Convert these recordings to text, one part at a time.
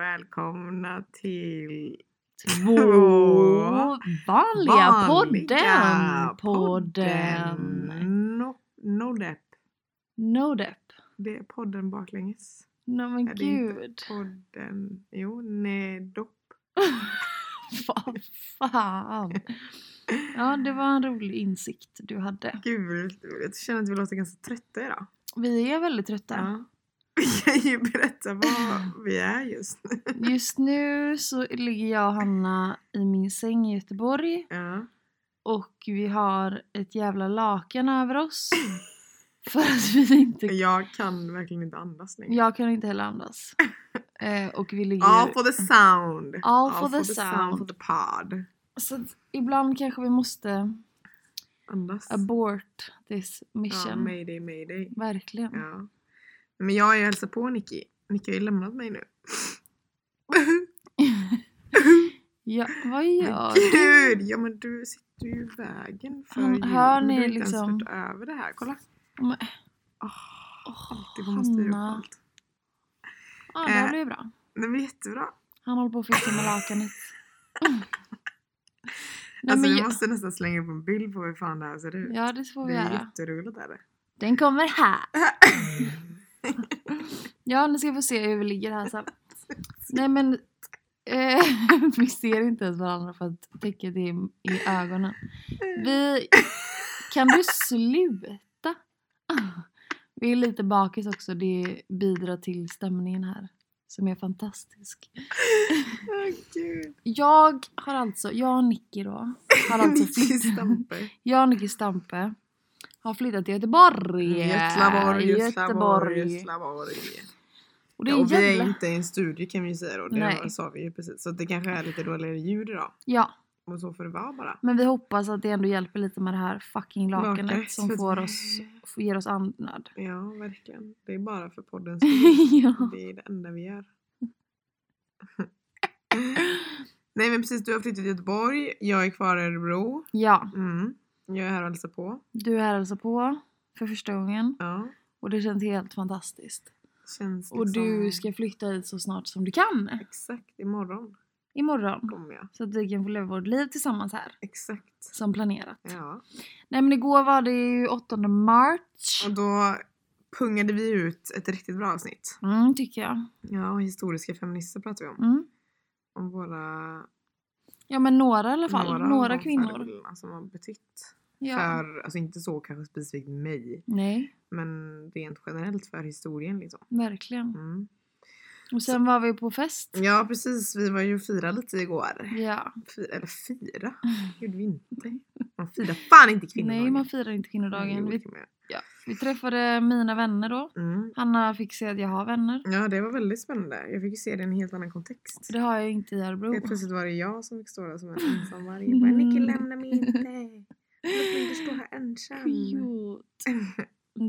välkomna till Två vanliga Vanliga podden. Podden. No, no Depp. Nodep. Det är podden baklänges. Nej men Är det inte gud. Podden, jo, nej, dopp. Vad fan. Ja det var en rolig insikt du hade. Gud, jag känner att vi låter ganska trötta idag. Vi är väldigt trötta. Ja. Vi kan ju berätta vad vi är just nu. Just nu så ligger jag och Hanna i min säng i Göteborg. Ja. Och vi har ett jävla lakan över oss. För att vi inte... Jag kan verkligen inte andas längre. Jag kan inte heller andas. Eh, och vi ligger... All for the sound. All for the sound. for the pod. Så att ibland kanske vi måste Andas. abort this Ja, mission. mayday, mayday. Verkligen. Ja. Mm. Men jag är ju hälsar på Nicky. Nicky har ju lämnat mig nu. Ja, vad Men gör du? gud! Ja men du sitter ju i vägen för Han- djuren. hör ni du har inte liksom- ens fört över det här. Kolla! Typ, Men- Åh, Åh, alltid får man styra upp Hanna. allt. Ja, det här Eh. blir bra. Det blir jättebra. Han håller på att fixa med lakanet. Nej, alltså men vi jag, måste nästan slänga upp en bild på hur fan det här ser ut. ja, det får vi det är göra. jätteroligt är det. Den kommer här. Ja, nu ska vi se hur vi ligger här sen. Nej, men eh, vi ser inte ens varandra för att täcket är i ögonen. Vi... Kan du sluta? Vi är lite bakis också. Det bidrar till stämningen här. Som är fantastisk. Åh gud. Jag har alltså, jag och Nicky då. Har alltså Nicky flyttat. Stampe. Jag och Nicky Stampe. Har flyttat till Göteborg. Göteborg, Göteborg, Göteborg. Göteborg. Och det Ja, är och vi är jävla... inte i en studio kan vi ju säga då. Det Nej. sa vi ju precis. Så det kanske är lite dåligare ljud idag. Ja, Och så får det vara bara. men vi hoppas att det ändå hjälper lite med det här fucking lakanet Lakanet, som för- får oss, ger oss andnöd. Ja, verkligen. Det är bara för poddens skull. ja. Det är det enda vi gör. Nej men precis, du har flyttat till Göteborg. Jag är kvar i Örebro. ja, Mm. Jag är här och hälsar på. du är alltså på för första gången. Ja. Och det känns helt fantastiskt. Känns Och liksom... du ska flytta hit så snart som du kan. Exakt, imorgon Imorgon. kommer jag. Så att vi kan få leva vårt liv tillsammans här. Exakt. Som planerat. Ja. Nej men igår var det ju 8 mars. Och då pungade vi ut ett riktigt bra avsnitt. Mm, tycker jag. Ja, och historiska feminister pratar vi om. Mm. Om våra Ja men några i alla fall. Några, av de kvinnor. förebilderna som har betytt Ja. för, alltså inte så kanske specifikt mig, Nej, men rent generellt för historien liksom. verkligen. Mm. Och sen var vi på fest. Ja precis, vi var ju och firade lite igår. Ja. Fy, eller fira? gjorde vi inte. Man firar fan inte kvinnodagen. Mm. Mm, Nej man firar inte Jo, kvinnodagen. det Vi, kan man göra. vi träffade mina vänner då. Mm. Hanna fick se att jag har vänner. Ja det var väldigt spännande. Jag fick ju se det i en helt annan kontext. Det har jag inte i Örebro. Helt plötsligt var det jag som fick stå där som en ensam varg. Jag bara, Nicke lämna mig Mm. inte. Låt mig inte stå här ensam. Idiot.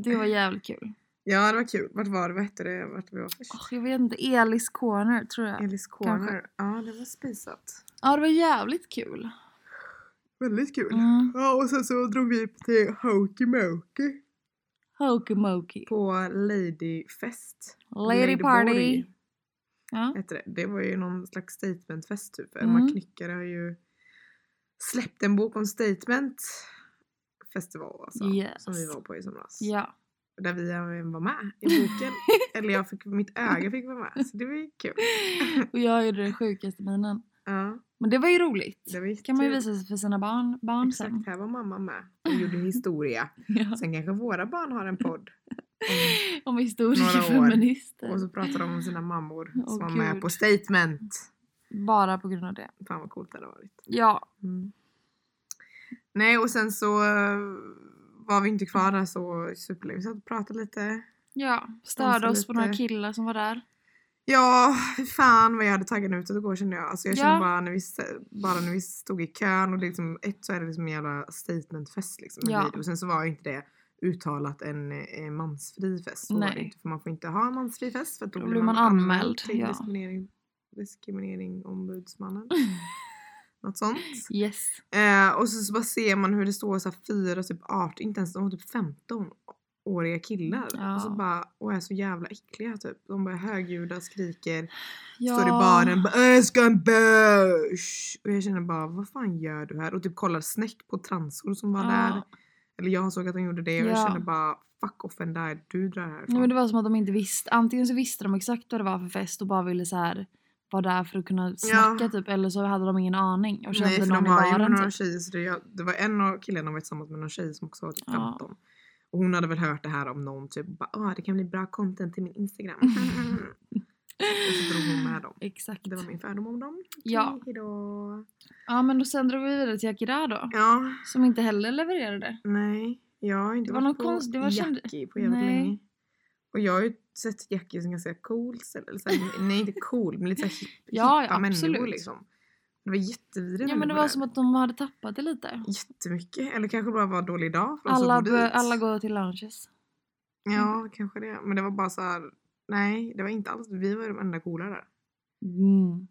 Det var jävligt kul. Ja det var kul. Vart var det? Vad hette det? Vart vi var först? Åh, jag vet inte, Elis corner tror jag. Elis Corner. Ja, det var spisat. Ja, det var jävligt kul. Väldigt kul. Mm. Ja, och sen så drog vi upp till Hokey Mokey. Hokumoki. På Ladyfest. Lady Ladyborg party. Ja. Hette det. det var ju någon slags statementfest typ. Mm. Elma Knyckare har ju släppt en bok om statement festival alltså. Yes. Som vi var på i somras. ja. Där vi även var med i boken. Eller jag fick, mitt öga fick vara med. Så det var ju kul. Och jag gjorde den sjukaste minen. Ja, Men det var ju roligt. det var jättekul. kan man ju visa för sina barn, barn sen. Exakt, här var mamma med och gjorde historia. Ja. Sen kanske våra barn har en podd. Om historiska Några år. feminister. Och så pratar de om sina mammor Åh, som var med gud. på Statement. Bara på grund av det. Fan vad coolt det hade varit. Ja. Mm. Nej och sen så eh, var vi inte kvar där så superlänge. Vi satt och pratade lite. Ja. Störde oss på några lite. killar som var där. Ja, fy fan vad jag hade taggarna utåt igår kände jag. Alltså jag kände Ja. bara, när vi, s- bara när vi stod i kön och det liksom, ett så är det liksom en jävla statementfest liksom. en Ja. grej. Och sen så var ju inte det uttalat en eh, mansfri fest. Så var det Nej. inte, för man får inte ha en mansfri fest för att då, Då blir man anmäld, till ja. diskriminering, diskrimineringsombudsmannen. Något sånt. Yes. Eh, och så, så bara ser man hur det står så här fyra, typ 18, inte ens de var typ 15 åriga killar. Ja. Och så bara, och är så jävla äckliga typ. De bara är högljudda, skriker, Ja. står i baren bara jag ska ha en bärs. Och jag känner bara vad fan gör du här? Och typ kollar snäckt på transor som var Ja. där. Eller jag såg att de gjorde det och Ja. jag känner bara fuck off and die, du drar härifrån. Nej, men det var som att de inte visste. Antingen så visste de exakt vad det var för fest och bara ville så här vara där för att kunna snacka typ eller så hade de ingen aning och kände Nej för någon de i var ju med baren några typ. tjejer så det, jag, det var en av killarna de var tillsammans med någon tjej som också var typ Ja. 15. Och hon hade väl hört det här om någon typ bara ah det kan bli bra content till min instagram. Och så drog hon med dem. Exakt. Det var min fördom om dem. Ja. Okej, Hejdå. Ja men då sen drog vi vidare till Akira då. Ja, Som inte heller levererade. nej. Jag har inte Det var varit någon på konst- det var- kände- Jackie på jävligt Nej. länge. Och jag har ju sett Jackie som ganska cool ställe. Eller så här, nej inte cool men lite såhär hip, Ja, hippa ja, människor absolut. liksom. Det var jättevidriga Ja men det människor var där. som att de hade tappat det lite. Jättemycket. Eller kanske bara var en dålig dag för de som Alla, går bör- dit. alla går till lunches. Mm. Ja, kanske det. Men det var bara så här. Nej, det var inte alls. Vi var ju de enda coola där. Mm.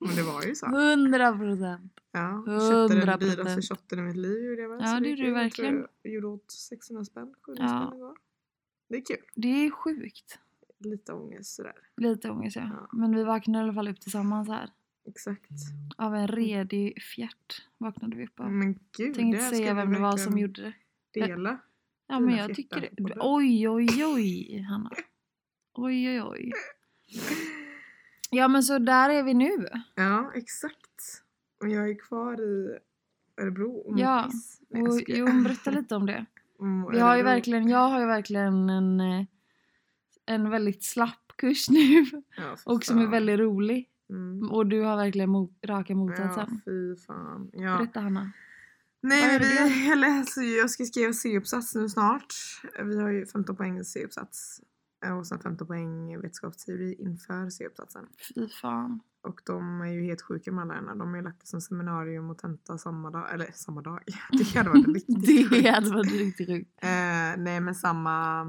men det var ju så. 100 procent. Ja, köpte den dyraste 100%. shotten i mitt liv gjorde jag med. Ja, så det gick gjorde du ju. Jag tror verkligen. Jag gjorde åt 600 spänn, 700 Ja. spänn igår. Det är kul. Det är sjukt. Lite ångest sådär. Lite ångest ja. Ja. Men vi vaknade i alla fall upp tillsammans här. Exakt. Av en redig fjärt vaknade vi upp av. Men gud, Tänkte här inte Mm. ska säga vi vem det var verkligen som gjorde det. Dela. Ja dina men jag fjärtar tycker på det. det. Oj oj oj Hanna. Oj oj oj. Ja men så där är vi nu. Ja, exakt. Och jag är kvar i Örebro och mår Ja, piss. Nej, jag Och, skojar. jo men berätta lite om det. Mm, och Vi har ju Örebro. verkligen, jag har ju verkligen en, eh, en väldigt slapp kurs nu. Ja, fy Och som är fan. väldigt rolig. Mm. Och du har verkligen mo- raka Ja, motsatsen. fy fan. Ja. Berätta Hanna. Nej, Vad men är det vi, jag, läser, ju- jag ska skriva C-uppsats nu snart. Vi har ju 15 poäng C-uppsats eh, och sen 15 poäng vetenskapsteori inför C-uppsatsen. Fy fan. Och de är ju helt sjuka med alla lärarna. De har ju lagt det som seminarium och tenta samma dag. Eller samma dag. Det hade varit riktigt Det sjukt. hade varit riktigt sjukt. Eh, nej, men samma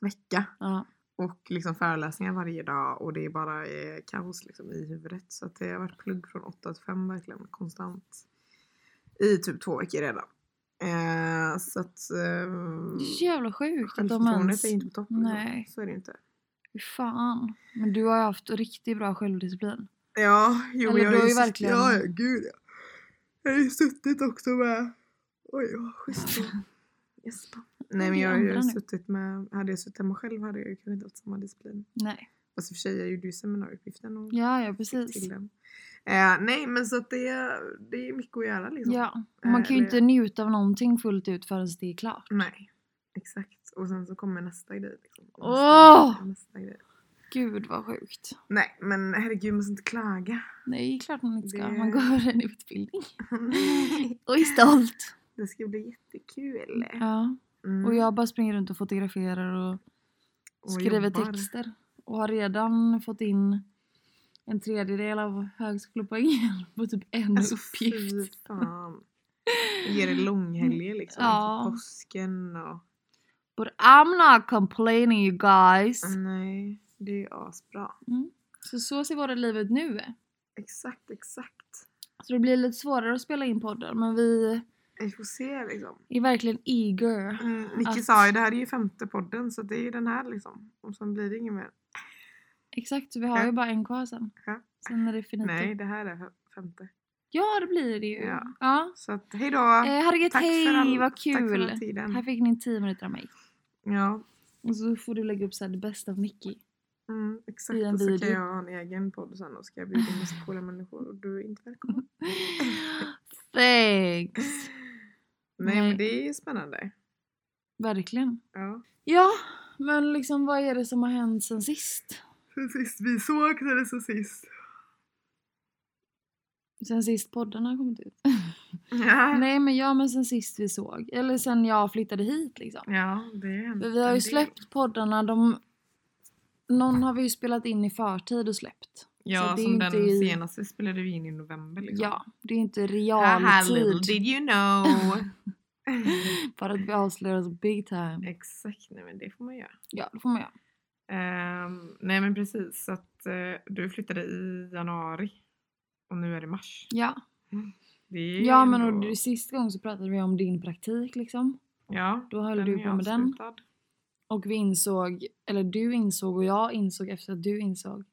vecka. Ja. Och liksom föreläsningar varje dag och det är bara eh, kaos liksom i huvudet. Så att det har varit plugg från 8 till 5 verkligen konstant. I typ två veckor redan. Eh, så att Det eh, är så jävla sjukt att de ens... självförtroendet är inte på topp. liksom. Nej. Så är det ju inte. Fy fan. Men du har ju haft riktigt bra självdisciplin. Ja, jo Eller jag du har ju sutt- verkligen- Ja, ja, gud ja. Jag har ju suttit också med... Oj, vad schysst. det var. Gäspa. Nej men det är jag har ju andra nu. suttit med... Hade jag suttit hemma själv hade jag ju kanske inte haft samma disciplin. Nej. Fast i och för sig, jag gjorde ju seminarieuppgiften och Ja, ja fick precis. till den. Eh, nej men så att det, det är mycket att göra liksom. Ja. Man kan ju Eller- inte njuta av någonting fullt ut förrän det är klart. Nej. Exakt. Och sen så kommer nästa grej. Liksom. Och Åh! grej, och nästa grej. Gud vad sjukt. Nej men herregud man måste inte klaga. Nej, klart man inte ska. Det- Man går en utbildning. Och är stolt. det ska bli jättekul. Ja. Mm. Och jag bara springer runt och fotograferar och, Och skriver jobbar. texter. Och har redan fått in en tredjedel av högskolepoängen på typ en Alltså, fy uppgift. fan. Ger det långhelger liksom. Ja. Ja. Påsken och... But I'm not complaining you guys. Mm. Nej, det är ju asbra. Så så ser våra liv ut nu. Exakt, exakt. Så det blir lite svårare att spela in podden men vi Vi får se liksom. är verkligen eager. Mm, Micke att- sa ju det här är ju femte podden så det är ju den här liksom. Och sen blir det ingen mer. Exakt, så vi har ju Ja. bara en kvar sen. Ja. Sen är det finito. Nej, det här är fe- femte. Ja, det blir det ju. Ja. ja. Så att hej då! Eh, herregud, Tack för hej, all- vad Tack för kul! den tiden. Här fick ni tio minuter av mig. Ja, Och så får du lägga upp så här, det bästa av Nicky. mm, exakt. I en Och så video. kan jag ha en egen podd sen och ska jag bjuda in massa coola människor och du är inte välkommen. Thanks! Nej, Nej. men det är spännande. Verkligen. Ja. Ja, men liksom vad är det som har hänt sen sist? Sen sist vi såg eller sen sist? Sen sist podden har kommit ut. Ja, Nej men ja, men sen sist vi såg. Eller sen jag flyttade hit liksom. ja Mm, det är en- För vi har en ju del. släppt poddarna, de... Någon har vi ju spelat in i förtid och släppt. Ja, så det är som inte den i- senaste spelade vi in i november liksom. Ja, det är ju inte Haha, little realtid. did you know. För att vi avslöjar oss big time. Exakt, nej men det får man göra. Ja, det får man göra. Ehm, nej men precis, så att eh, du flyttade i januari och nu är det mars. Ja. Det är Ja men ändå- och du, sist gång så pratade vi om din praktik liksom. Ja, Då höll du är på med den. avslutad. Och vi insåg, eller du insåg och jag insåg efter att du insåg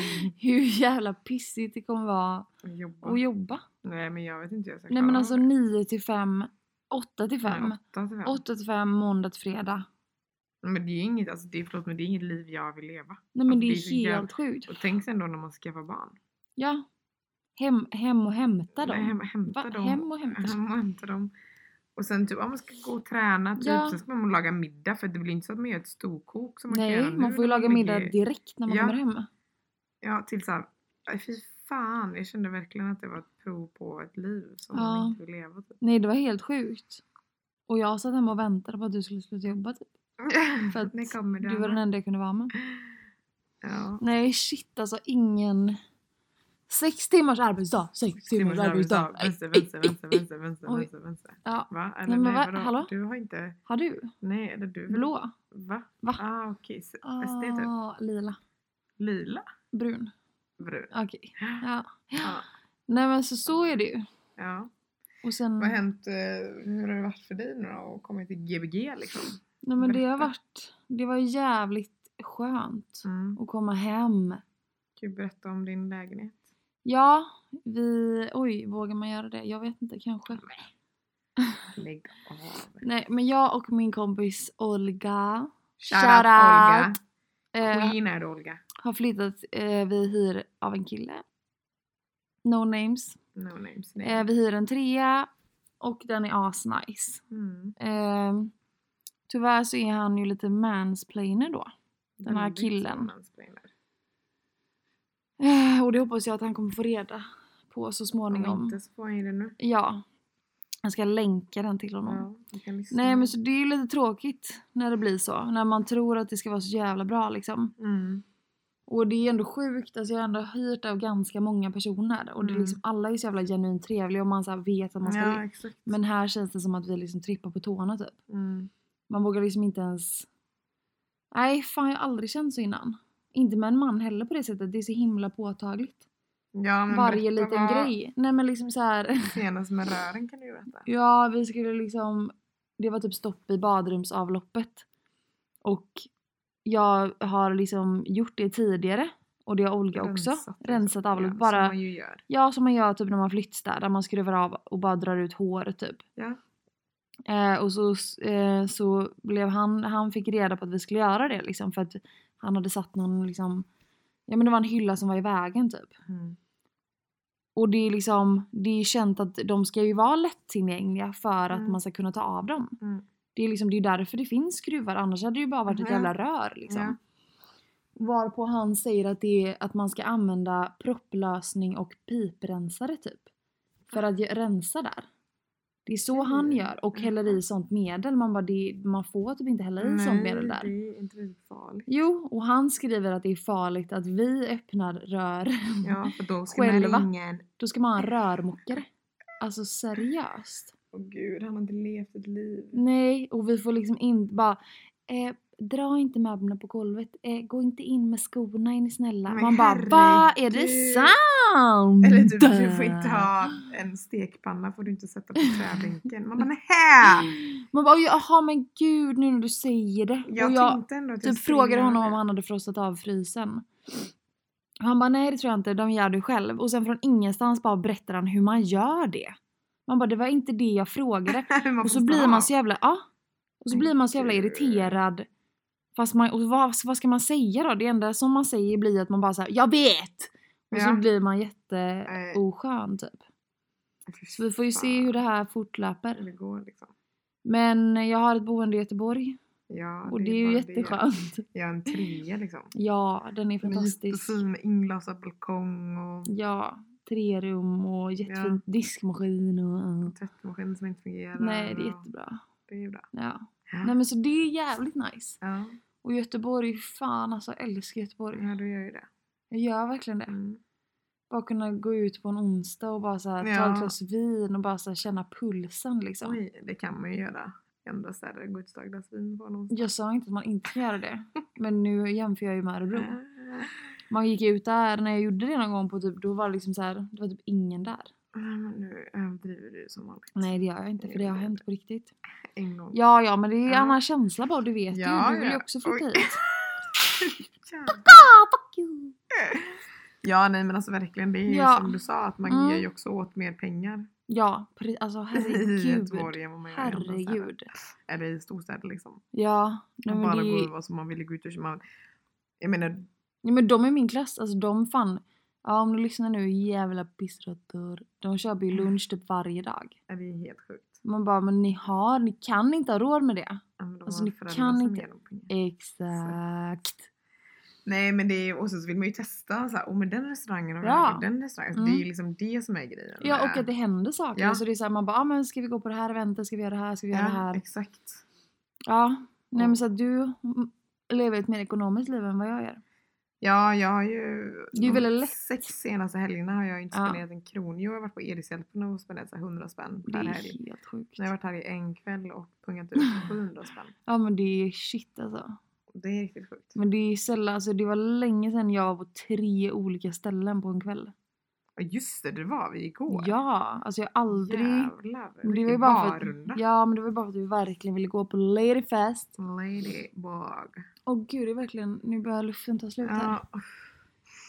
hur jävla pissigt det kommer vara Jobba. att jobba. Nej men jag vet inte hur jag ska Nej men alltså 9 till 5, 8 till 5, 8 till 5. 8 till 5 måndag till fredag. Men det är ju inget, alltså, det är, förlåt, men det är inget liv jag vill leva. Nej men Alltså, det det är så är jävla- helt sjukt. Och tänk sen då när man skaffar barn. Ja. Hem, hem och hämta Nej, dem. hem, hämta Va? dem. Hem och hämta dem. Hem och hämta dem. Och sen typ, ja, man ska gå och träna, typ. Ja. sen ska man laga middag för det blir inte så att man gör ett storkok som man kan göra Nej, nu man får ju när laga middag ligger- direkt när man Ja. kommer hem. Ja, till såhär, aj, fy fan, jag kände verkligen att det var ett prov på ett liv som Ja. man inte vill leva typ. Nej, det var helt sjukt. Och jag satt hemma och väntade på att du skulle sluta jobba typ. För att När kommer Du var den enda jag kunde vara med. Ja. Nej shit alltså ingen... Sex timmars arbetsdag! Sex timmars arbetsdag! Aj, Vänster, aj, vänster, aj, vänster, aj. vänster, vänster, Oj. vänster, vänster. Ja, Va? Eller, men va? vadå? Hallå? Du har inte... har du? Nej, eller du? Blå? Va? Va? Ah, okej. Okay. SD typ. Ah, lila. Lila? Brun. Brun? Okej. Ja. Ja. Nej men så, så är det ju. ja. Och sen... Vad har hänt? eh, Hur har det varit för dig nu då? Och kommit till Gbg liksom? Nej men det har Berätta. varit... Det var jävligt skönt Mm. att komma hem. Kan du berätta om din lägenhet? Ja, vi... Oj, vågar man göra det? Jag vet inte, kanske. Lägg av. Nej, men jag och min kompis Olga Shoutout Shoutout. Olga. eh, Queen är det, Olga. har flyttat. Eh, vi hyr av en kille. No names. No names. Nej. Eh, vi hyr en trea och den är asnice. Mm. Eh, tyvärr så är han ju lite mansplainer då. Den här Väldigt killen. sammanspelar. Eh, och det hoppas jag att han kommer få reda på så Om småningom. inte så får han ju det nu. Ja. Jag ska länka den till honom. Ja, vi kan lyssna. Nej men så det är ju lite tråkigt när det blir så. När man tror att det ska vara så jävla bra liksom. Mm. Och det är ändå sjukt, alltså jag har ändå hyrt av ganska många personer. Och det är Mm. liksom, alla är så jävla genuint trevliga och man så här vet att man ska Ja, det. exakt. Men här känns det som att vi liksom trippar på tårna typ. Mm. Man vågar liksom inte ens... Nej fan jag har aldrig känt så innan. Inte med en man heller på det sättet, det är så himla påtagligt. Ja, men Varje berätta liten vad grej. Nej men liksom så här. Senast med rören kan du ju berätta. Ja, vi skulle liksom... Det var typ stopp i badrumsavloppet. Och jag har liksom gjort det tidigare. Och det har Olga också. Rensat avlopp. Ja, Som bara, man ju gör. ja, som man gör typ när man flyttstädar. Man skruvar av och bara drar ut hår typ. Ja. Eh, och så, eh, så blev han, han fick reda på att vi skulle göra det liksom. För att han hade satt någon liksom... Ja men det var en hylla som var i vägen typ. Mm. Och det är liksom, det är känt att de ska ju vara lättillgängliga för att Mm. man ska kunna ta av dem. Mm. Det är liksom, det är ju därför det finns skruvar, annars hade det ju bara varit ett Mhm. jävla rör liksom. Ja. Varpå han säger att, det är, att man ska använda propplösning och piprensare typ. För att ge- rensa där. Det är så han Okej. gör och häller i sånt medel. Man bara, det, man får typ inte hälla i sånt medel där. det är inte riktigt farligt. Jo, och han skriver att det är farligt att vi öppnar rören. Ja, för då ska Mm. Själva. man ringa en... Då ska man ha en rörmokare. Alltså seriöst. Åh gud, han har inte levt ett liv. Mm. Nej, och vi får liksom inte bara... Eh, dra inte möblerna på golvet. Eh, gå inte in med skorna är ni snälla. Men man bara vad är det herregud." sant? Eller typ, du får inte ha en stekpanna får du inte sätta på träbänken. Man bara Mm. nähä! Man bara jaha men gud nu när du säger det. Jag, och jag tänkte ändå att jag typ skulle frågade göra honom om det. han hade frostat av frysen. Han bara nej det tror jag inte, de gör det själv. Och sen från ingenstans bara berättar han hur man gör det. Man bara det var inte det jag frågade. Man Och så får blir stå man av. så jävla, ja. Och så Men blir man så jävla gud. irriterad. Fast man, och vad, vad ska man säga då? Det enda som man säger blir att man bara såhär, jag vet! Och så Ja. blir man Nej. jätteoskön typ. Fy Så vi får ju se fan, hur det här fortlöper. det går liksom. Men jag har ett boende i Göteborg Ja, och det är ju bara det. jätteskönt. Jag har en trea liksom. Ja, den är Den är fantastisk. jättefin med inglasad balkong och Ja, tre rum och jättefint diskmaskin och... tvättmaskin som inte fungerar. Nej, det är och- jättebra. Det är ju bra. Ja. Ja. Nej men så det är jävligt nice. Ja, Och Göteborg, fan alltså jag älskar Göteborg. ja, du gör ju det. Jag gör verkligen det. Mm. Bara kunna gå ut på en onsdag och bara så här, ta Ja. ett glas vin och bara så här, känna pulsen liksom. Oj, det kan man ju göra. I andra städer, gå ut och ta ett glas vin på någon Jag sa inte att man inte ska göra det. Men nu jämför jag ju med Örebro. Ah. Man gick ut där när jag gjorde det någon gång på typ, då var det liksom så här, det var typ ingen där. Nej, men nu överdriver du som vanligt. Nej det gör jag inte för det har hänt på riktigt. En gång. Ja ja men det är en Ja. annan känsla bara du vet Ja, ju. Du vill ju ja. också flytta Oj. hit. Jävlar. Fuck you. Ja, nej men alltså verkligen det är ju Ja. som du sa att man Mm. ger ju också åt mer pengar Ja pre- alltså i Göteborg herregud. än vad man gör i andra städer. Herregud. Eller i storstäder liksom. Ja. Nej, man men, bara det är går ju, ut vad som man vill gå ut och köpa. Man- Jag menar, nej, men de i min klass, alltså de fan. Ja om du lyssnar nu jävla pissrötter. De köper Mm. ju lunch typ varje dag. är det är helt sjukt. Man bara men ni har, ni kan inte ha råd med det. Ja, men de Alltså, har ni föräldrar kan som inte- ger dem pengar. Exakt. Nej men det är, och sen så vill man ju testa så här, oh, men den restaurangen och Ja. ja. den restaurangen. Så Mm. Det är ju liksom det som är grejen. Ja med- och att det händer saker. Ja. Så det är så här, man bara ah, men ska vi gå på det här eventet, ska vi göra det här, ska vi göra det ja, här. exakt. Ja. Nej men Mm. så att du mm, lever ett mer ekonomiskt liv än vad jag gör. Ja, jag har ju... Det är ju de väldigt lätt. Sex senaste helgerna har jag ju inte Ja. spenderat en kron. Jo, jag har varit på Edishjälpen och spenderat så här 100 spänn Det per är helg. helt sjukt. Nu har jag varit här i en kväll och pungat ut 700 spänn. Ja men det är shit alltså. Det är riktigt sjukt. Men det är sällan, alltså det var länge sedan jag var på tre olika ställen på en kväll. Och just det, det var vi igår. Ja, alltså jag har aldrig... Jävlar. Men det var ju vilken bara för barrunda. att, ja men det var ju bara för att vi verkligen ville gå på Ladyfest. Ladybug. Åh gud det är verkligen, nu börjar luften ta slut här. Ja,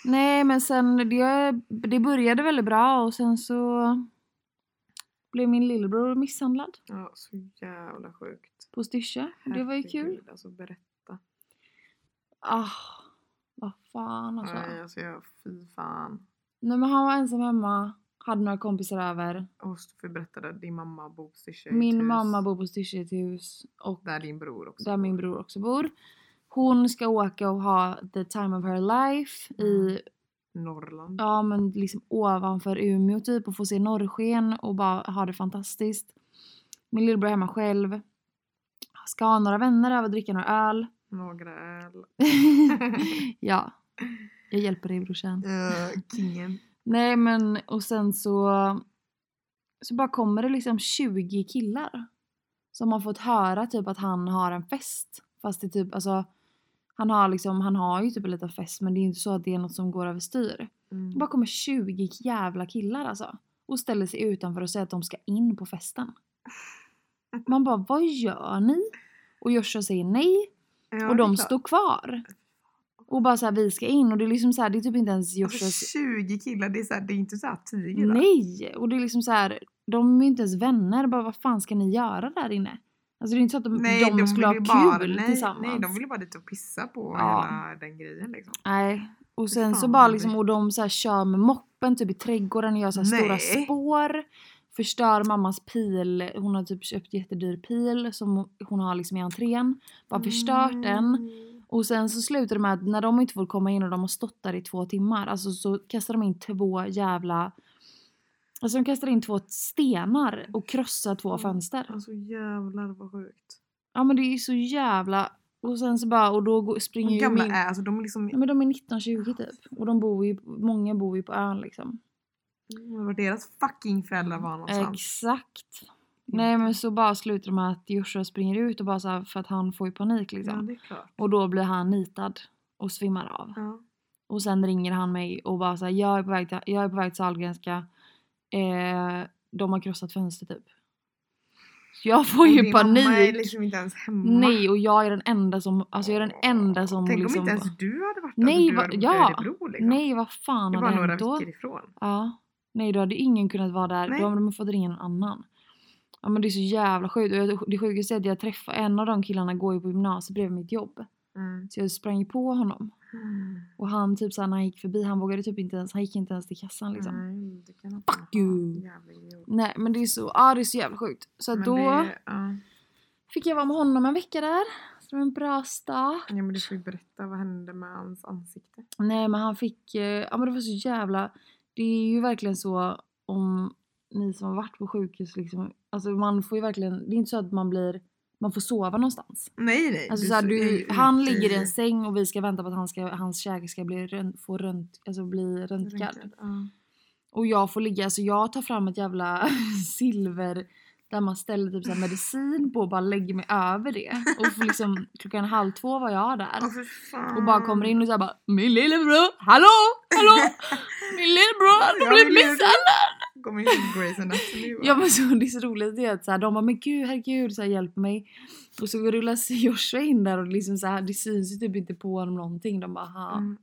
Nej men sen, det, det började väldigt bra och sen så blev min lillebror misshandlad ja, så jävla sjukt. på Styrsö. Det var ju kul. Herregud, Alltså, berätta. Ah, vad fan alltså. Nej, alltså jag, fy fan. Nej men han var ensam hemma, hade några kompisar över. Och för berättade din mamma bor i ett Min hus mamma bor på Styrsö i ett hus och Där din bror också där bor. min bror också bor. Hon ska åka och ha the time of her life Mm. i, Norrland. ja men liksom ovanför Umeå typ och få se norrsken och bara ha det fantastiskt. Min lillebror är hemma själv. Ska ha några vänner över och dricka några öl. Några öl. ja, jag hjälper dig brorsan. Eh, Kingen. Nej men och sen så så bara kommer det liksom 20 killar som har fått höra typ att han har en fest fast det är typ alltså han har liksom han har ju typ en liten fest men det är inte så att det är något som går överstyr. Mm. Det bara kommer 20 jävla killar alltså och ställer sig utanför och säger att de ska in på festen. Man bara vad gör ni? Och Joshua säger nej Ja, och det är de klart. står kvar. Och bara så här vi ska in och det är liksom så här det är typ inte ens Alltså, Joshuas 20 killar, det är, så här, det är inte så här 10 killar. Nej! Och det är liksom så här, de är ju inte ens vänner. Bara vad fan ska ni göra där inne? Alltså det är inte så att de, de, skulle ha vill kul ju bara, nej, tillsammans. Nej, de ville bara dit och pissa på Ja. hela den grejen liksom. Nej. Och sen Fan, så vad bara liksom, vidrigt. och de så här kör med moppen typ i trädgården och gör så här stora Nej. spår. Förstör mammas pil, hon har typ köpt jättedyr pil som hon har liksom i entrén. Bara förstört den. Mm. Och sen så slutar det med att när de inte får komma in och de har stått där i två timmar, alltså så kastar de in två jävla... Alltså de kastar in två stenar och krossar två Mm. fönster. Alltså jävlar vad sjukt. Ja men det är ju så jävla... Och sen så bara, och då går- springer Hur ju gamla min... Mm. är alltså de är liksom, Ja, men de är 19-20 typ. Och de bor ju, många bor ju på ön liksom. var Mm, deras fucking föräldrar var någonstans. Exakt. Mm. Nej men så bara slutar de med att Joshua springer ut och bara så här, för att han får ju panik liksom. Ja det är klart. Och då blir han nitad och svimmar av. Ja. Och sen ringer han mig och bara såhär, jag är på väg till, jag är på väg till Sahlgrenska. Eh, de har krossat fönster typ. Så jag får Och ju din mamma är panik. liksom inte ens hemma. Nej och jag är den enda som, alltså jag är den enda som Tänk liksom. om inte bara- ens du hade varit Nej, alltså, du va- hade bott ja. i Örebro liksom. Nej vad fan det var hade några hänt då? veckor ifrån. Ja. Nej då hade ingen kunnat vara där, Nej. då hade man fått ringa någon annan. Ja men det är så jävla sjukt och jag- det sjukaste är att jag träffar, en av de killarna går ju på gymnasiet bredvid mitt jobb. Mm. Så jag sprang ju på honom. Och han typ såhär när han gick förbi, han vågade typ inte ens, han gick inte ens till kassan liksom. Nej, det kan inte Fuck ha. you. Jävla idiot. Nej men det är så, ah, det är så jävla sjukt. Så att Men då det- ja. fick jag vara med honom en vecka där. Så det var en bra start. Ja men du får ju berätta vad hände med hans ansikte. Nej men han fick, eh, ja men det var så jävla, det är ju verkligen så om ni som har varit på sjukhus liksom, alltså man får ju verkligen, det är inte så att man blir, man får sova någonstans. Nej nej. Alltså såhär, är du, ju han ute ligger i en säng och vi ska vänta på att han ska, hans käke ska bli, rönt- få rönt, alltså bli röntgad. rynkad, ja. Och jag får ligga, så jag tar fram ett jävla silver där man ställer typ så här medicin på och bara lägger mig över det. Och får liksom, klockan halv två var jag där. Åh, för fan. Och bara kommer in och så här bara Min lillebror, hallå, hallå! Min lillebror, han har Jag blivit vill ju- misshandlad! Kommer inte ihåg Grace Anatomy va? Ja men så det är så roligt det är att så här, de bara men gud herregud så här, hjälp mig. Och så rullar Joshua in där och liksom så här, det syns ju typ inte på honom någonting. De bara ha, Mm.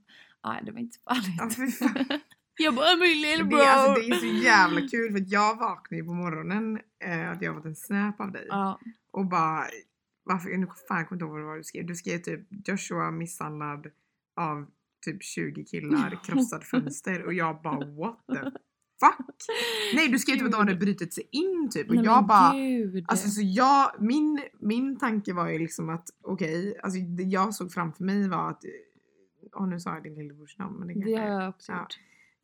nej det var inte Ja, farligt. fy fan. jag bara min Det, lillebror. är- alltså, det är så jävla kul för att jag vaknade ju på morgonen eh, att jag fått en snap av dig Ja, och bara varför, nu fan kommer jag inte ihåg vad du skrev. Du skrev typ Joshua misshandlad av typ 20 killar, krossad fönster och jag bara what the fuck? Nej du skrev typ att de Gud. hade brutit sig in typ och Nej, jag men bara Gud. Alltså så jag, min, min tanke var ju liksom att okej, alltså det jag såg framför mig var att, eh, åh nu sa jag din lillebrors namn men det kanske det har jag också Ja. gjort.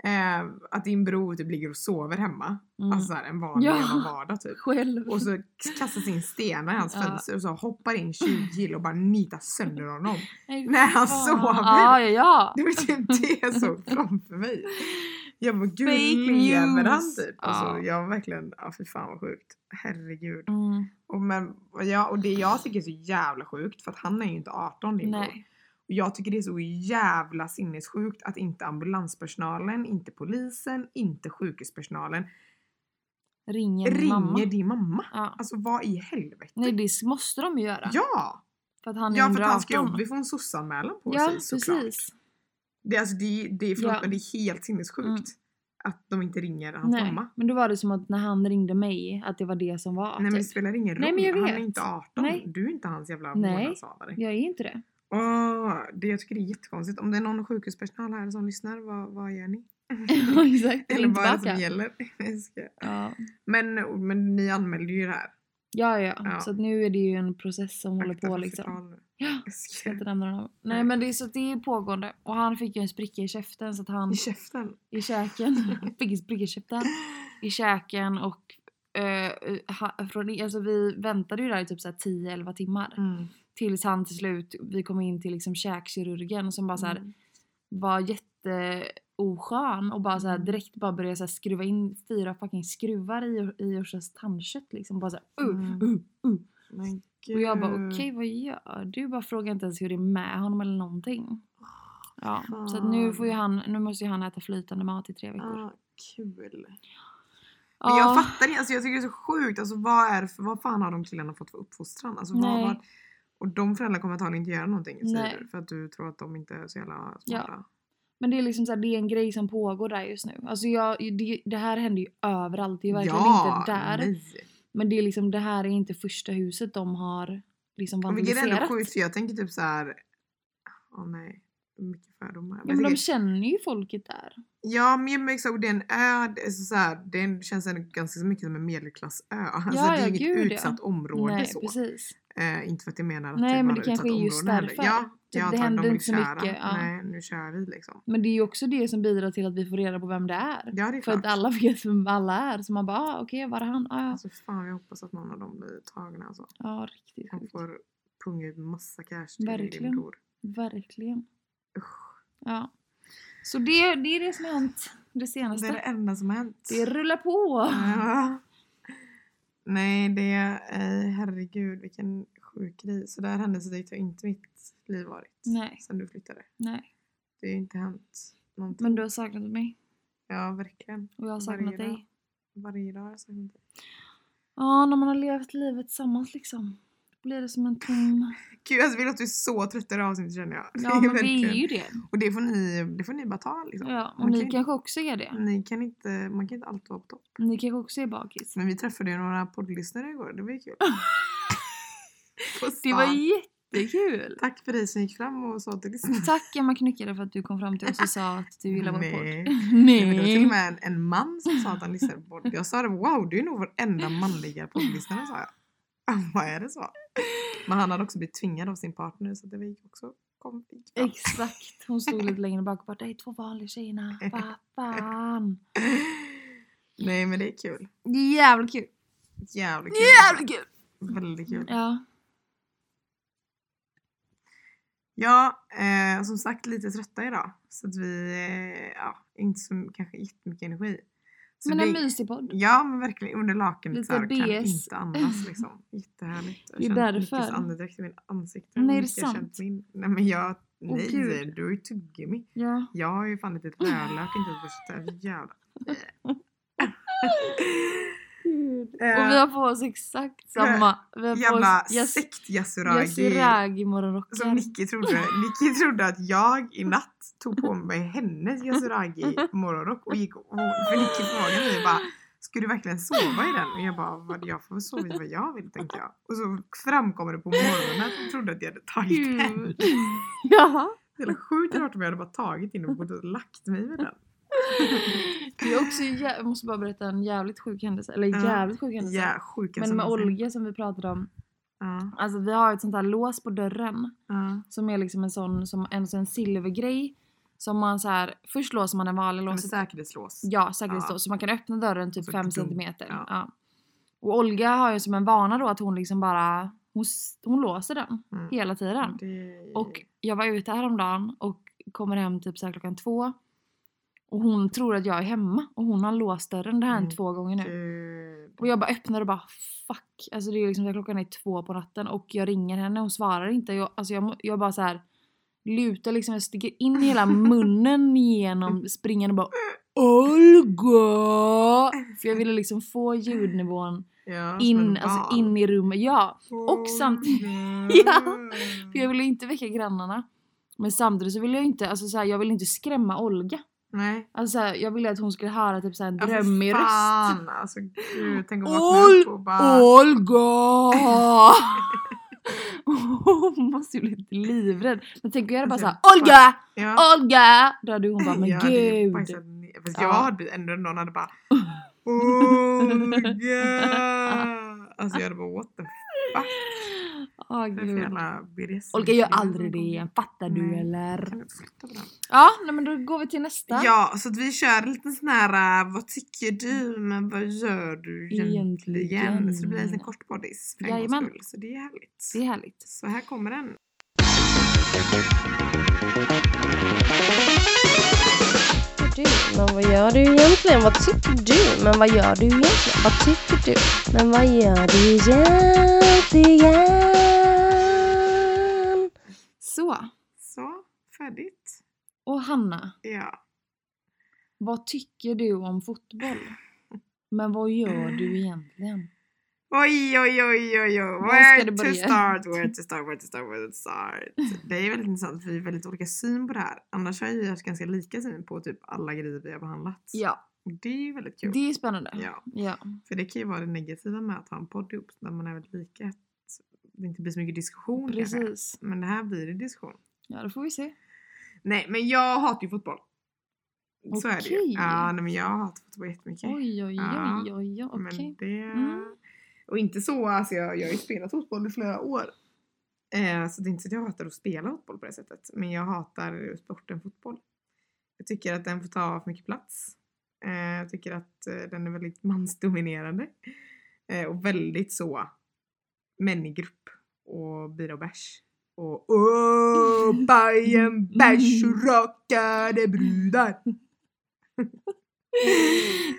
Eh, att din bror typ ligger och sover hemma. Mm. Alltså såhär en vanlig Ja. jävla vardag typ. Själv. Och så kastas in stenar i hans Ja. fönster och så hoppar in 20 kilo och bara nitar sönder honom. Nej, när fy han fan. sover. Ja, ja, ja. Det var typ det jag såg framför mig. Jag bara gud Fake lever han news. typ? Alltså, Ja. jag var verkligen, ja fy fan vad sjukt. Herregud. Mm, Och, men, och, jag, och det jag tycker är så jävla sjukt för att han är ju inte 18 din bror. nej. Och jag tycker det är så jävla sinnessjukt att inte ambulanspersonalen, inte polisen, inte sjukhuspersonalen Ringer min ringer mamma. din mamma. Ja. Alltså vad i helvete? Nej det måste de ju göra. ja! För att han är Ja för under att han ska 18. jobba, vi får en sossanmälan på Ja sig såklart. precis. Det, är alltså, det, det, är, förlåt, Ja. men det är helt sinnessjukt Mm. att de inte ringer hans Nej. mamma. Men då var det som att när han ringde mig att det var det som var. Nej men det typ. spelar ingen roll, Nej, men jag han är vet. inte 18. Nej. Du är inte hans jävla Nej. vårdnadshavare. Jag är inte det. Åh, Ah, det, jag tycker det är jättekonstigt. Om det är någon sjukhuspersonal här som lyssnar, vad, vad gör ni? Ja, Exakt. Eller Ring vad är tillbaka. det som gäller? Jag skojar. Ja. Men, men ni anmälde ju det här. Ja, ja Ja. Så att nu är det ju en process som håller Akta på för liksom. förtal nu. Ja. Jag Ska skojar. inte nämna någon. Nej Nej. men det är så att det är pågående. Och han fick ju en spricka i käften så att han I käften. i käken. fick en spricka i käften. I käken och eh, ha, från, alltså vi väntade ju där i typ så här 10-11 timmar. Mm. Tills han till slut, vi kom in till liksom käkkirurgen som bara så här, Mm. var jätteoskön och bara så här, Mm. direkt bara började så här, skruva in fyra fucking skruvar i, i Joshas tandkött liksom. Bara så här, uh, Mm. uh, uh. Men gud. Och jag bara okej vad gör du? Bara frågar inte ens hur det är med honom eller någonting. Ja, så att nu får ju han, nu måste ju han äta flytande mat i tre veckor. Ah, kul. Men jag fattar inte, alltså jag tycker det är så sjukt. Alltså vad är det för, vad fan har de killarna fått för uppfostran? Alltså, vad, Nej. vad, och de föräldrarna kommer antagligen inte göra någonting säger Nej. du, för att du tror att de inte är så jävla Ja. smarta. Men det är liksom så här, det är en grej som pågår där just nu. Alltså jag, det, det här händer ju överallt, det är verkligen inte där. nej. Men det är liksom, det här är inte första huset de har liksom Och vilket är ändå vandaliserat. sjukt för jag tänker typ så här. Åh nej. Mycket fördomar. Ja, men de känner ju folket där. Ja men exakt, det är en ö, det, är så så här, det är en- känns ändå ganska så mycket som en medelklassö. Alltså Ja, ja, det är inget gud, ja. utsatt område Nej så. precis. Eh, inte för att jag menar att Nej, det men var det ett kanske utsatt är just område heller. därför. Ja, det jag antar att händer de vill inte så köra. mycket, ja. Nej nu kör vi liksom. Men det är ju också det som bidrar till att vi får reda på vem det är. Ja det är För klart. att alla vet vem alla är. Så man bara ah, okej var är han? Ah, ja. Alltså fan jag hoppas att någon av dem blir tagna alltså. ja riktigt Han sjukt. får punga ut massa cash till din Verkligen. bror. Verkligen. Usch. Ja. Så det, det är det som har hänt det Det senaste. är det enda som har hänt. Det rullar på! Ja. Nej, det är... eh, Herregud, vilken sjuk grej. Så där händelserikt har inte mitt liv varit. Nej. Sen du flyttade. Nej, Det har ju inte hänt någonting. men du har saknat mig. Ja, verkligen. Och jag har saknat Varje dag. dig. Varje dag har jag saknat dig. Ja, när man har levt livet tillsammans liksom. Blir det som en tom... Gud, alltså, vi låter ju så trötta i det här avsnittet känner jag. Det Ja, är men vi är verkligen- ju det. Och det får, ni, det får ni bara ta liksom. Ja, och Man ni kan- kanske också är det. Ni kan inte, man kan inte alltid vara på topp. Ni kanske också är bakis. Men vi träffade ju några poddlyssnare igår, det var ju kul. På Det var stan. jättekul! Tack för dig som gick fram och sa till lyssnarna. Tack Emma Knyckare för att du kom fram till oss och sa att du gillar vår Nej. podd. Nej, men det var till och Nej! med en, en man som sa att han lyssnade på podd. Jag sa det, wow du är nog vår enda manliga poddlyssnare sa jag. Han bara, är det så? Men han hade också blivit tvingad av sin partner så det gick också kom, gick bra. Exakt! Hon stod lite längre bak och bara det är två vanliga tjejerna. Vad fan! Nej men det är kul. Det är jävligt kul! Jävligt kul. Jävligt kul! Väldigt kul. Ja, Ja, eh, som sagt lite trötta idag. Så att vi, eh, ja, inte så kanske jättemycket energi. Så men en det- mysig podd. Ja men verkligen under lakanet Lite så här, och kan BS. inte andas liksom. Jättehärligt. Jag Det är känner därför. Mickes andedräkt i min ansikte. Nej, är det Micke har känt sant? Min. Nej men jag, nej gud. du är ju tuggummi. Ja. Jag har ju fan lite rödlök inte på så jävla... Och vi har på oss exakt samma. Vi har på Eh, Jävla oss jas- sekt-yasuragi. Yasuragi Som morgonrockar. Alltså, Nicky trodde. Nicky trodde att jag i natt tog på mig hennes yasuragi morgonrock och gick och för Nicky frågade mig bara Ska du verkligen sova i den? Och jag bara, vad jag får väl sova i vad jag vill tänker jag. Och så framkommer det på morgonen att hon trodde att jag hade tagit den. Gud. Mm. Ja. Det är sjukt rart om jag hade bara tagit in och gått och lagt mig med den. Det är också, jä- jag måste bara berätta en jävligt sjuk händelse. Eller Ja. jävligt sjuk händelse. Ja, sjuka Men som med jag säger. Olga som vi pratade om. Ja, Alltså vi har ett sånt här lås på dörren. ja. Som är liksom en sån, som en, en silvergrej. Som man så här, först låser man den vanliga Med låset. säkerhetslås. Ja, säkerhetslås. Ja. Så man kan öppna dörren typ Så 5 dunk. centimeter. Ja. Ja. Och Olga har ju som en vana då att hon liksom bara, hon, s- hon låser den Mm. hela tiden. Det- Och jag var ute häromdagen och kommer hem typ så här klockan två. Och hon tror att jag är hemma och hon har låst dörren. Det här har hänt Mm. två gånger nu. Gud. Och jag bara öppnar och bara fuck. Alltså det är liksom så här, klockan är två på natten och jag ringer henne och hon svarar inte. Jag, alltså jag, må- jag bara så här lutar liksom, jag sticker in hela munnen genom springan och bara Olga! För jag ville liksom få ljudnivån Ja, som in, en alltså val. in i rummet. Ja! och samtidigt- Ja, För jag ville inte väcka grannarna. Men samtidigt så ville jag inte, alltså så här, jag ville inte skrämma Olga. Nej. Alltså så här, jag ville att hon skulle höra typ så här en Ja, för drömmig röst. fan, Alltså gud, tänk att vakna upp och bara... Olga! hon måste ju bli lite livrädd. Men tänk att göra bara såhär Olga! Ja. Olga! Då hade hon bara men Jag hade ju gud. bajsat ner- Fast Ja. jag hade blivit ändå någon hade bara... Olga! Alltså jag hade bara what the fuck. Åh, Det är för gud. jävla BDSM. Olga gör aldrig det igen, fattar du Nej. eller? Kan du flytta på den? Ja, nej, men då går vi till nästa. Ja, så att vi kör lite sån här äh, vad tycker du men vad gör du egentligen? Egentligen. Så det blir en liten kort poddis för en gångs Jajamän. skull. Så det är härligt. Det är härligt. Så här kommer den. tycker du? Men vad gör du egentligen? Vad tycker du? Men vad gör du egentligen? Vad tycker du? Men vad gör du egentligen? Så. Så, färdigt. Och Hanna, Ja. vad tycker du om fotboll? Men vad gör Mm. du egentligen? Oj, oj, oj, oj, oj. Var ska Where du to börja? start, where to start, where to start, where to start. Det är väldigt intressant för vi har väldigt olika syn på det här. Annars har vi haft ganska lika syn på typ alla grejer vi har behandlat. Ja, Och det är ju väldigt kul. det är spännande. Ja. Ja. För det kan ju vara det negativa med att ha en podd ihop när man är väldigt lika. att Det inte blir så mycket diskussion kanske. Precis. Men det här blir det diskussion. Ja, då får vi se. Nej men jag hatar ju fotboll. Så är det ju. Okej. Ja nej, men jag hatar fotboll jättemycket. Oj, oj, Ja, oj, oj, oj, okej. Men det... Mm. Och inte så, alltså jag, jag har ju spelat fotboll i flera år. Eh, så det är inte så att jag hatar att spela fotboll på det sättet. Men jag hatar sporten fotboll. Jag tycker att den får ta för mycket plats. Eh, jag tycker att eh, den är väldigt mansdominerande. Eh, och väldigt så män i grupp och bira och bärs. Och åh, Mm. Bajen bärs och rakade brudar.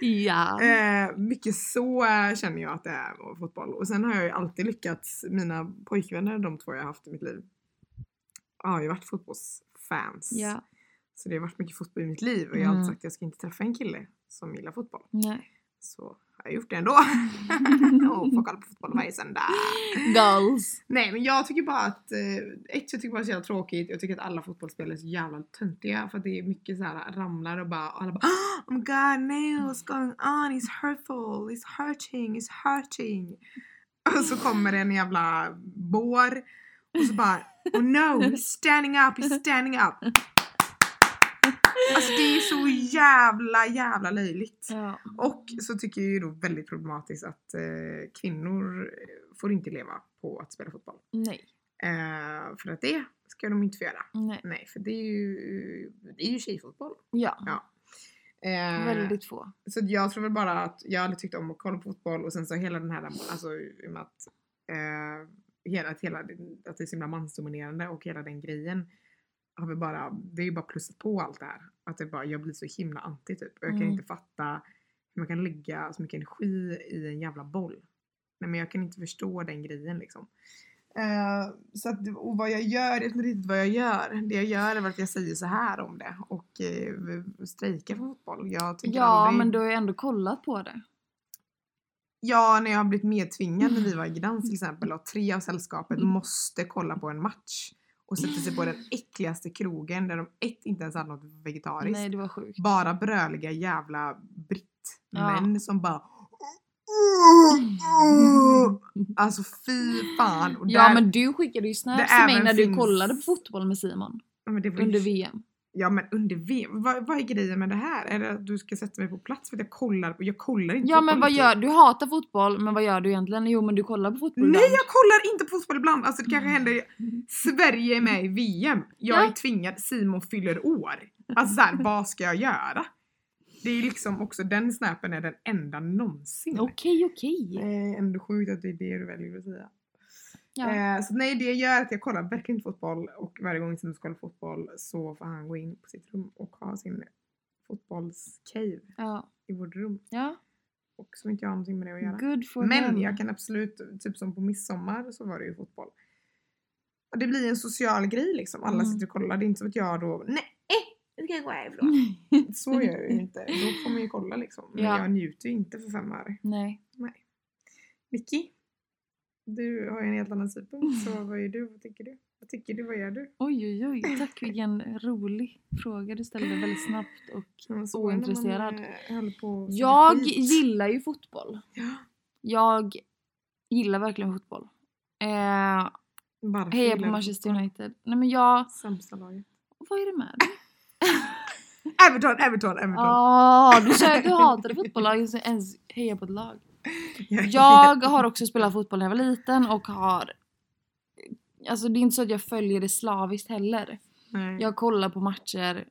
Ja. Eh, mycket så eh, känner jag att det är med fotboll. Och sen har jag ju alltid lyckats, mina pojkvänner, de två jag har haft i mitt liv, har ju varit fotbollsfans. Ja. Så det har varit mycket fotboll i mitt liv och jag har alltid Mm. sagt att jag ska inte träffa en kille som gillar fotboll. Nej. Så har jag gjort det ändå. och får kolla på fotboll varje söndag. Goals. Nej men jag tycker bara att, eh, ett jag tycker bara det är så jävla tråkigt, jag tycker att alla fotbollsspelare är så jävla töntiga för att det är mycket så här ramlar och bara, alla bara oh my god nej what's going on, it's hurtful, it's hurting, it's hurting. Och så kommer det en jävla bår och så bara oh no, he's standing up, he's standing up. Alltså det är så jävla jävla löjligt. Ja. Och så tycker jag ju då väldigt problematiskt att eh, kvinnor eh, får inte leva på att spela fotboll. Nej. Eh, för att det ska de inte få göra. Nej. Nej, för det är ju, det är ju tjejfotboll. Ja. Eh, Väldigt få. Så jag tror väl bara att jag aldrig tyckte om att kolla på fotboll och sen så hela den här, alltså i och med att, eh, hela, att, hela, att det är så himla mansdominerande och hela den grejen har vi bara, det är ju bara plussat på allt det här. Att det bara, jag blir så himla anti typ. Och jag kan Mm. inte fatta hur man kan lägga så mycket energi i en jävla boll. Nej men jag kan inte förstå den grejen liksom. Eh, så att, och vad jag gör, jag vet inte riktigt vad jag gör. Det jag gör är väl att jag säger så här om det och eh, strejkar för fotboll. Jag tänker Ja, aldrig- men du har ju ändå kollat på det. Ja, när jag har blivit medtvingad när vi var i Gdansk till exempel och tre av sällskapet Mm. måste kolla på en match och sätter sig på den äckligaste krogen där de ett inte ens hade något vegetariskt. Nej, det var sjukt. Bara bröliga jävla brittmän som bara Alltså fy fan! Och Ja där- men du skickade ju Det snaps till mig även när du finns- kollade på fotboll med Simon Ja, men det var ju- under VM. Ja men under VM, vad, vad är grejen med det här? Är det att du ska sätta mig på plats för att jag kollar? på- Jag kollar inte Ja fotboll men vad riktigt. gör du? hatar fotboll men vad gör du egentligen? Jo men du kollar på fotboll Nej ibland. Mm. jag kollar inte på fotboll ibland! Alltså det kanske händer, i- Sverige är med i VM. Jag är Ja. tvingad, Simon fyller år. Alltså såhär, vad ska jag göra? Det är liksom också, den snappen är den enda någonsin. Okej okej. Eh, ändå sjukt att det är det du väljer att säga. Ja. Eh, så nej det gör att jag kollar verkligen inte fotboll och varje gång som jag kollar fotboll så får han gå in på sitt rum och ha sin fotbollscave Ja. i vårt rum. ja. Och som inte jag har någonting med det att göra. Good for Men him. jag kan absolut, typ som på midsommar så var det ju fotboll. Och det blir en social grej liksom. Alla Mm. sitter och kollar. Det är inte så att jag då, nej, nu ska jag gå härifrån. Så gör jag ju inte. Då får man ju kolla liksom. Men Ja. jag njuter ju inte för fem öre. Nej. Nicky, du har ju en helt annan synpunkt. Så vad gör du? Vad tycker du? Vad tycker du? Vad gör du? Oj oj oj. Tack vilken rolig fråga du ställde väldigt snabbt och Man såg när man, Ointresserad. eh, höll på att Jag snacka skit. gillar ju fotboll. Ja. Jag gillar verkligen fotboll. Eh, Varför hejar gillar på du Manchester fotboll? United. Nej men jag... Sämsta laget. Vad är det med dig? Everton, Everton, Everton. Ja, du, sa- du hatade fotboll och inte ens hejar på ett lag. Jag- Jag har också spelat fotboll när jag var liten och har... Alltså det är inte så att jag följer det slaviskt heller. Nej. Jag kollar på matcher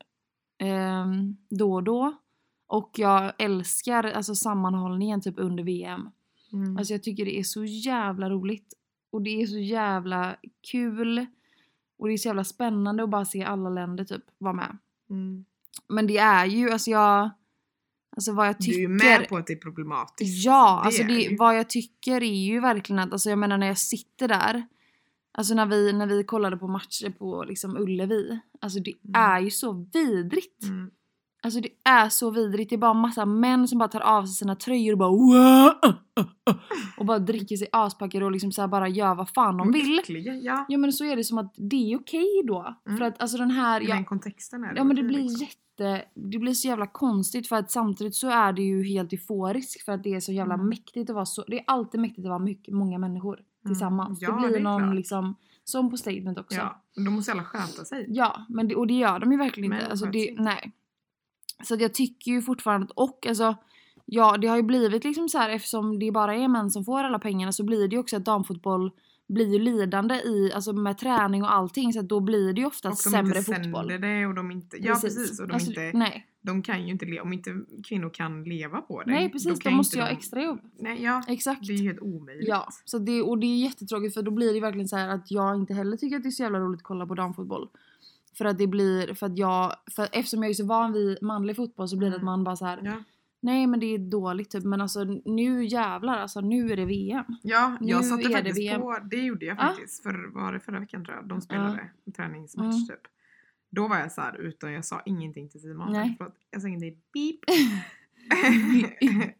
ehm, då och då. Och jag älskar alltså, sammanhållningen typ under VM. Mm. Alltså jag tycker det är så jävla roligt. Och det är så jävla kul. Och det är så jävla spännande att bara se alla länder typ vara med. Mm. Men det är ju, alltså jag... Alltså vad jag tycker... Du är ju med på att det är problematiskt. Ja, Det alltså är det, ju. vad jag tycker är ju verkligen att, alltså jag menar när jag sitter där. Alltså när vi, när vi kollade på matcher på liksom Ullevi. Alltså det Mm. är ju så vidrigt. Mm. Alltså det är så vidrigt. Det är bara massa män som bara tar av sig sina tröjor och bara "Wow, uh, uh, uh", Och bara dricker sig aspackade och liksom så här bara gör vad fan Mm. de vill. Verkligen, ja. Ja men så är det som att det är okej då. Mm. För att alltså den här, I jag den kontexten är Ja men det okej, blir liksom. jätte, det blir så jävla konstigt för att samtidigt så är det ju helt euforiskt för att det är så jävla Mm. mäktigt att vara så, det är alltid mäktigt att vara mycket, många människor tillsammans. Ja, det det blir är någon klart. liksom, som på statement också. Ja, Ja, men då måste alla sköta sig. men det, och det gör de ju verkligen Men inte. Alltså, sköts det, inte. nej. Så att jag tycker ju fortfarande, att- och alltså Ja, det har ju blivit liksom så här eftersom det bara är män som får alla pengarna så blir det ju också att damfotboll blir ju lidande i, alltså med träning och allting så att då blir det ju ofta och de sämre inte fotboll. sänder det och de inte... Ja precis, och de, Alltså, inte, Nej. de kan ju inte leva... Om inte kvinnor kan leva på det. Nej precis, då kan ju måste inte jag ha de- extrajobb. Nej, ja. Exakt. Det är ju helt omöjligt. Ja, så det, och det är jättetråkigt för då blir det verkligen så här att jag inte heller tycker att det är så jävla roligt att kolla på damfotboll. För att det blir, för att jag, för eftersom jag är så van vid manlig fotboll så blir det att Mm. man bara så här. Ja, nej men det är dåligt typ men alltså nu jävlar alltså nu är det VM. ja jag Nu är satte det faktiskt VM. Ah. på... Det gjorde jag Ja. faktiskt. För, var det förra veckan tror jag? De spelade träningsmatch Mm. typ. Då var jag så här ute och jag sa ingenting till Simon. Nej. Förlåt, jag sa ingenting. Beep.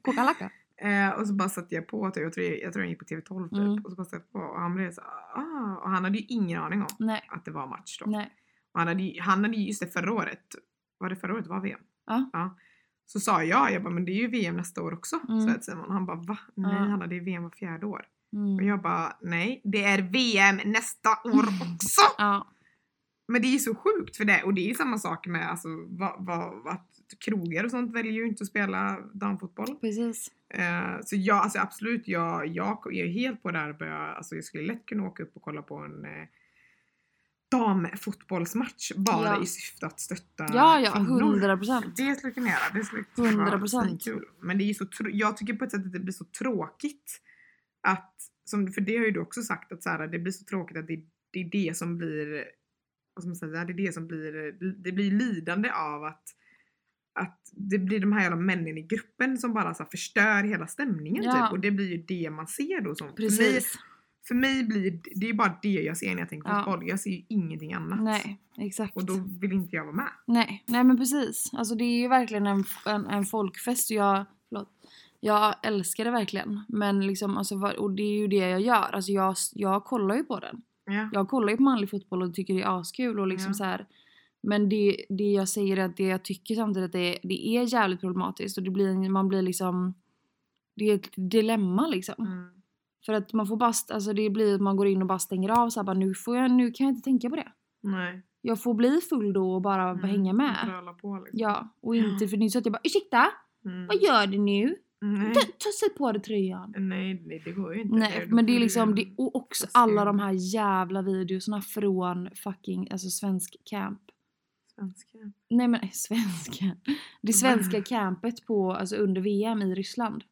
Kokalaka. Eh, och så bara satte jag på, typ, jag, tror, jag tror jag gick på TV12 typ. Mm. Och så bara satte jag på och han blev så ah. Och han hade ju ingen aning om Nej, att det var match då. nej. Och han hade ju, han hade ju just det förra året. Var det förra året? Var VM? Ja. Så sa jag, jag bara, men det är ju VM nästa år också. Mm. Så att Simon, han bara, va? Nej Ja. Hanna, det är VM var fjärde år. Och Mm. jag bara, nej, det är VM nästa år Mm. också! Ja, Men det är ju så sjukt för det. Och det är ju samma sak med alltså, vad, vad, att krogar och sånt väljer ju inte att spela damfotboll. precis. Eh, så jag, alltså absolut, jag, jag är helt på det här att börja, alltså jag skulle lätt kunna åka upp och kolla på en eh, damfotbollsmatch bara Ja. i syfte att stötta Ja, ja, kvinnor. hundra procent. Det skulle jag kunna göra. Det skulle Hundra procent. kul. Men det är ju så, tr- jag tycker på ett sätt att det blir så tråkigt att, som, för det har ju du också sagt att så här, det blir så tråkigt att det, det är det som blir, vad ska man säga, det är det som blir, det blir lidande av att att det blir de här jävla männen i gruppen som bara så här, förstör hela stämningen Ja. typ. Och det blir ju det man ser då. Som, För, mig, Precis. för mig blir det- det är ju bara det jag ser när jag tänker på Ja. fotboll. Jag ser ju ingenting annat. Nej, exakt. Och då vill inte jag vara med. Nej, nej men precis. Alltså det är ju verkligen en, en, en folkfest och jag, förlåt, Jag älskar det verkligen. Men liksom, alltså, vad- och det är ju det jag gör. Alltså, jag, jag kollar ju på den. Ja. Jag kollar ju på manlig fotboll och tycker det är askul och liksom Ja. så här. Men det, det jag säger är att det jag tycker samtidigt att det, det är jävligt problematiskt och det blir, en- man blir liksom Det är ett dilemma liksom. Mm. För att man får bara, st- alltså det blir att man går in och bara stänger av så här, bara, nu, får jag, nu kan jag inte tänka på det. Nej. Jag får bli full då och bara Mm. hänga med. Bröla på liksom. Ja, och inte för det är så att jag bara ursäkta, Mm. vad gör du nu? Nej. Ta, ta sig på dig tröjan. Nej, nej, det går ju inte. Nej, då men får det är du liksom en- det, och också Fast det är alla ju- de här jävla videorna från fucking alltså svensk camp. Svenska. Nej men eh, svenska. Det Mm. svenska campet på alltså under VM i Ryssland.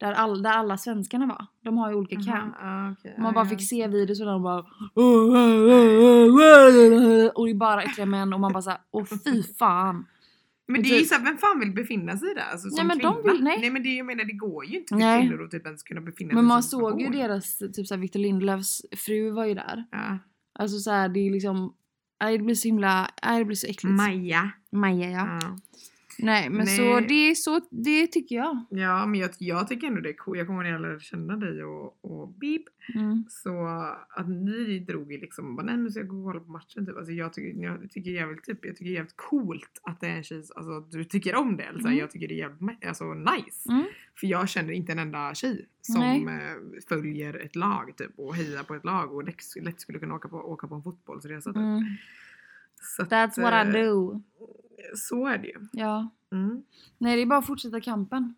Där, all, där alla svenskarna var. De har ju olika Aha, camp. ah, okej. Man Ah, bara ja. fick se videos och de bara och det är bara äckliga män och man bara såhär åh fy fan. Men Och det är ju typ- såhär, vem fan vill befinna sig där? Alltså, Nej, som men de kvinna? vill- nej. nej men det, jag menar, det går ju inte för Nej. kvinnor att typ ens kunna befinna sig Men man som såg ju person. deras, typ såhär Victor Lindelöfs fru var ju där. Ja. Alltså såhär det är liksom, nej det blir så himla, nej det blir så äckligt. Maja. Maja ja. Ja. Nej men så Nej. det är så, det tycker jag. Ja men jag, jag tycker ändå det är coolt. Jag kommer när jag lärde känna dig och, och Bib. Mm. Så att ni drog ju liksom bara nej nu ska jag gå och kolla på matchen typ. Alltså jag tycker, jag tycker jävligt typ, jag tycker jävligt coolt att det är en tjej, alltså att du tycker om det. Alltså, Mm. Jag tycker det är jävligt ma- alltså, nice. Mm. För jag känner inte en enda tjej som eh, följer ett lag typ och hejar på ett lag och lätt, lätt skulle kunna åka på, åka på en fotbollsresa typ. Mm. Så att, That's what I eh, do. Så är det ju. Ja. Mm. Nej det är bara att fortsätta kampen.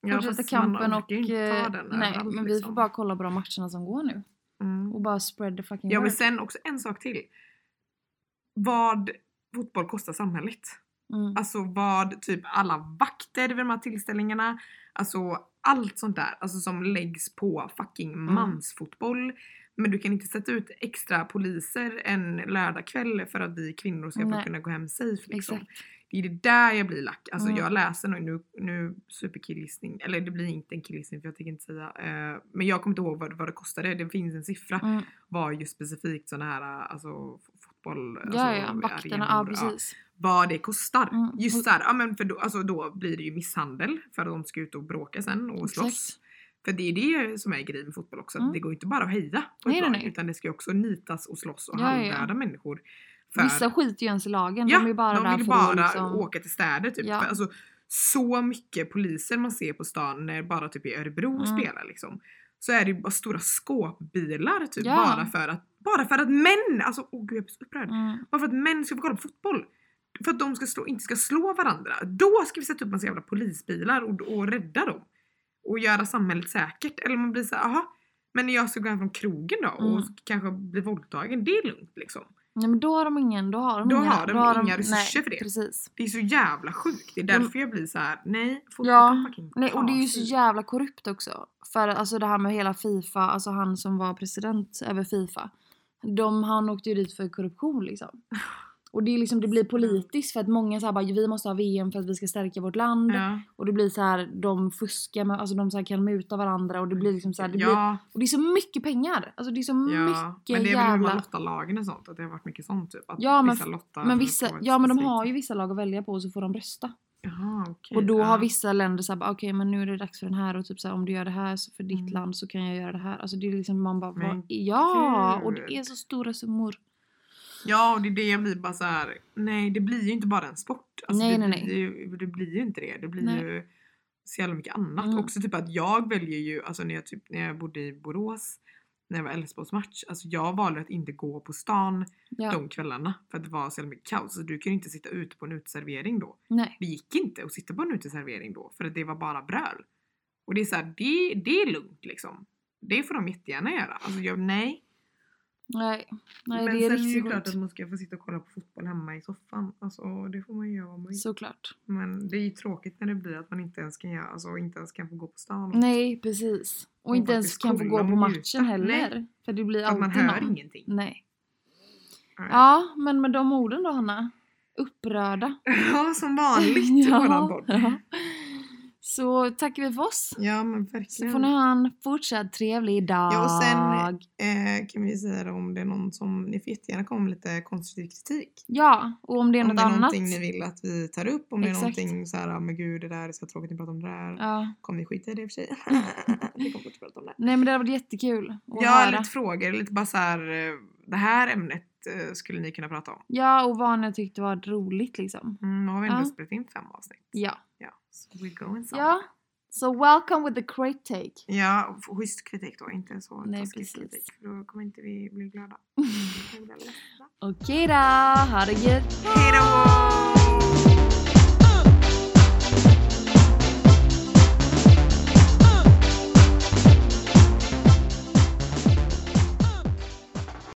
Ja, fortsätta fast man kampen och... orkar ju inte ta eh, den nej, överallt, men vi får liksom. bara kolla på de matcherna som går nu. Mm. Och bara spread the fucking Ja word. men sen också en sak till. Vad fotboll kostar samhället. Mm. Alltså vad typ alla vakter vid de här tillställningarna. Alltså allt sånt där. Alltså som läggs på fucking Mm. mansfotboll. Men du kan inte sätta ut extra poliser en lördagkväll för att vi kvinnor ska få Nej. kunna gå hem safe liksom. Exakt. Det är det där jag blir lack. Alltså Mm. jag läser nog nu, nu superkillgissning. Eller det blir inte en killgissning för jag tänker inte säga. eh, men jag kommer inte ihåg vad, vad det kostade. Det finns en siffra Mm. var ju specifikt sådana här alltså, f- fotboll, alltså, Ja, ja, vakterna. Ja, arenor, precis. vad det kostar. Mm, och- Just där, ja, men för då, alltså, då blir det ju misshandel för att de ska ut och bråka sen och slåss. Exakt. För det är det som är grejen med fotboll också, att Mm. det går ju inte bara att heja på Nej, nej, ett lag, nej. utan det ska ju också nitas och slåss och Ja, ja, ja. halvdöda människor. För, Vissa skiter ju ens i lagen. ja, de är ju bara där vill för bara att liksom... åka till städer typ. Ja. För, alltså, så mycket poliser man ser på stan när bara typ i Örebro Mm. spelar liksom. Så är det ju bara stora skåpbilar typ Ja. bara för att bara för att män, alltså åh gud jag blir så upprörd. Mm. Bara för att män ska få kolla på fotboll. För att de ska slå, inte ska slå varandra. Då ska vi sätta upp massa jävla polisbilar och, och rädda dem. Och göra samhället säkert. Eller man blir så här, aha. Men när jag ska gå hem från krogen då och Mm. kanske bli våldtagen, det är lugnt liksom. Nej, men då har de ingen, då har de Då ingen, har de inga resurser nej, för det. Precis. Det är så jävla sjukt. Det är Ja, men- därför jag blir så här: nej. Fotboll Ja, kan fucking Nej, och det är ju så tas. jävla korrupt också. För alltså det här med hela Fifa, alltså han som var president över Fifa. De, han åkte ju dit för korruption liksom. Och det, är liksom, det blir politiskt för att många så här bara, vi måste ha VM för att vi ska stärka vårt land. Ja, Och det blir så här, de fuskar med, alltså de så här kan muta varandra och det blir liksom så här, det, blir, ja, och det är så mycket pengar. Alltså det är så ja. mycket Men det är väl hur man jävla... lottar lagen och sånt. Att det har varit mycket sånt typ. Att Ja, men- vissa lottar Men på vissa, ett ja men de specifikt har ju sätt. vissa lag att välja på och så får de rösta. Jaha, okej. Och då har Ja. vissa länder såhär, bara, okej men nu är det dags för den här och typ såhär, om du gör det här så för ditt Mm. land så kan jag göra det här. Alltså det är liksom man bara, Men vad, ja! Och gud. det är så stora summor. Ja, och det är det jag blir bara så här. nej det blir ju inte bara en sport. Alltså, Nej, det, nej, blir nej. Ju, det blir ju inte det. Det blir Nej. ju så jävla mycket annat. Mm. Också typ att jag väljer ju, alltså när jag, typ, när jag bodde i Borås, när jag var Elfsborgsmatch, alltså jag valde att inte gå på stan Ja, de kvällarna för att det var så jävla mycket kaos. Så du kunde inte sitta ute på en uteservering då. nej. Det gick inte att sitta på en uteservering då för att det var bara bröl. Och det är så här, det, det är lugnt liksom. Det får de jättegärna göra. Alltså jag, nej. Nej, nej men det är sen är det ju riktigt klart att sjukt. man ska få sitta och kolla på fotboll hemma i soffan. Alltså det får man ju göra vad man vill. Såklart. Men det är ju tråkigt när det blir att man inte ens kan göra, alltså inte ens kan få gå på stan. Nej, precis. Och Och inte ens faktiskt kan få kolla gå och på njuta. matchen heller. För det blir För att man alltid hör någon. ingenting. Nej. Nej. Ja, men med de orden då Hanna. Upprörda. Ja, som vanligt i våran podd. ja. Så tackar vi för oss. Ja men Så får verkligen. ni ha en fortsatt trevlig dag. Ja, och sen- Eh, kan vi säga då om det är någon som, ni får jättegärna komma med lite konstruktiv kritik. Ja, och om det är Om något det är annat. någonting ni vill att vi tar upp, om det är Exakt. någonting så här, "Ah, men gud det där är så tråkigt ni pratar om det där. Ja. Mm. Kommer vi skita i det i och för sig? vi kommer inte prata om det. Nej men det hade varit jättekul att Ja, höra. lite frågor, lite bara så här, eh, det här ämnet eh, skulle ni kunna prata om. Ja, och vad ni tyckte var roligt liksom. Mm, nu har vi ändå Ja. spelat in fem avsnitt. Ja. Ja, so we're going some. Ja. Så welcome with the crate take. Ja, och f- schysst kritik då, inte så Nej, taskig precis. kritik. För då kommer inte vi Mm, bli glada. Vi kommer bli ledsna. Okej då, ha det gött. Hej då!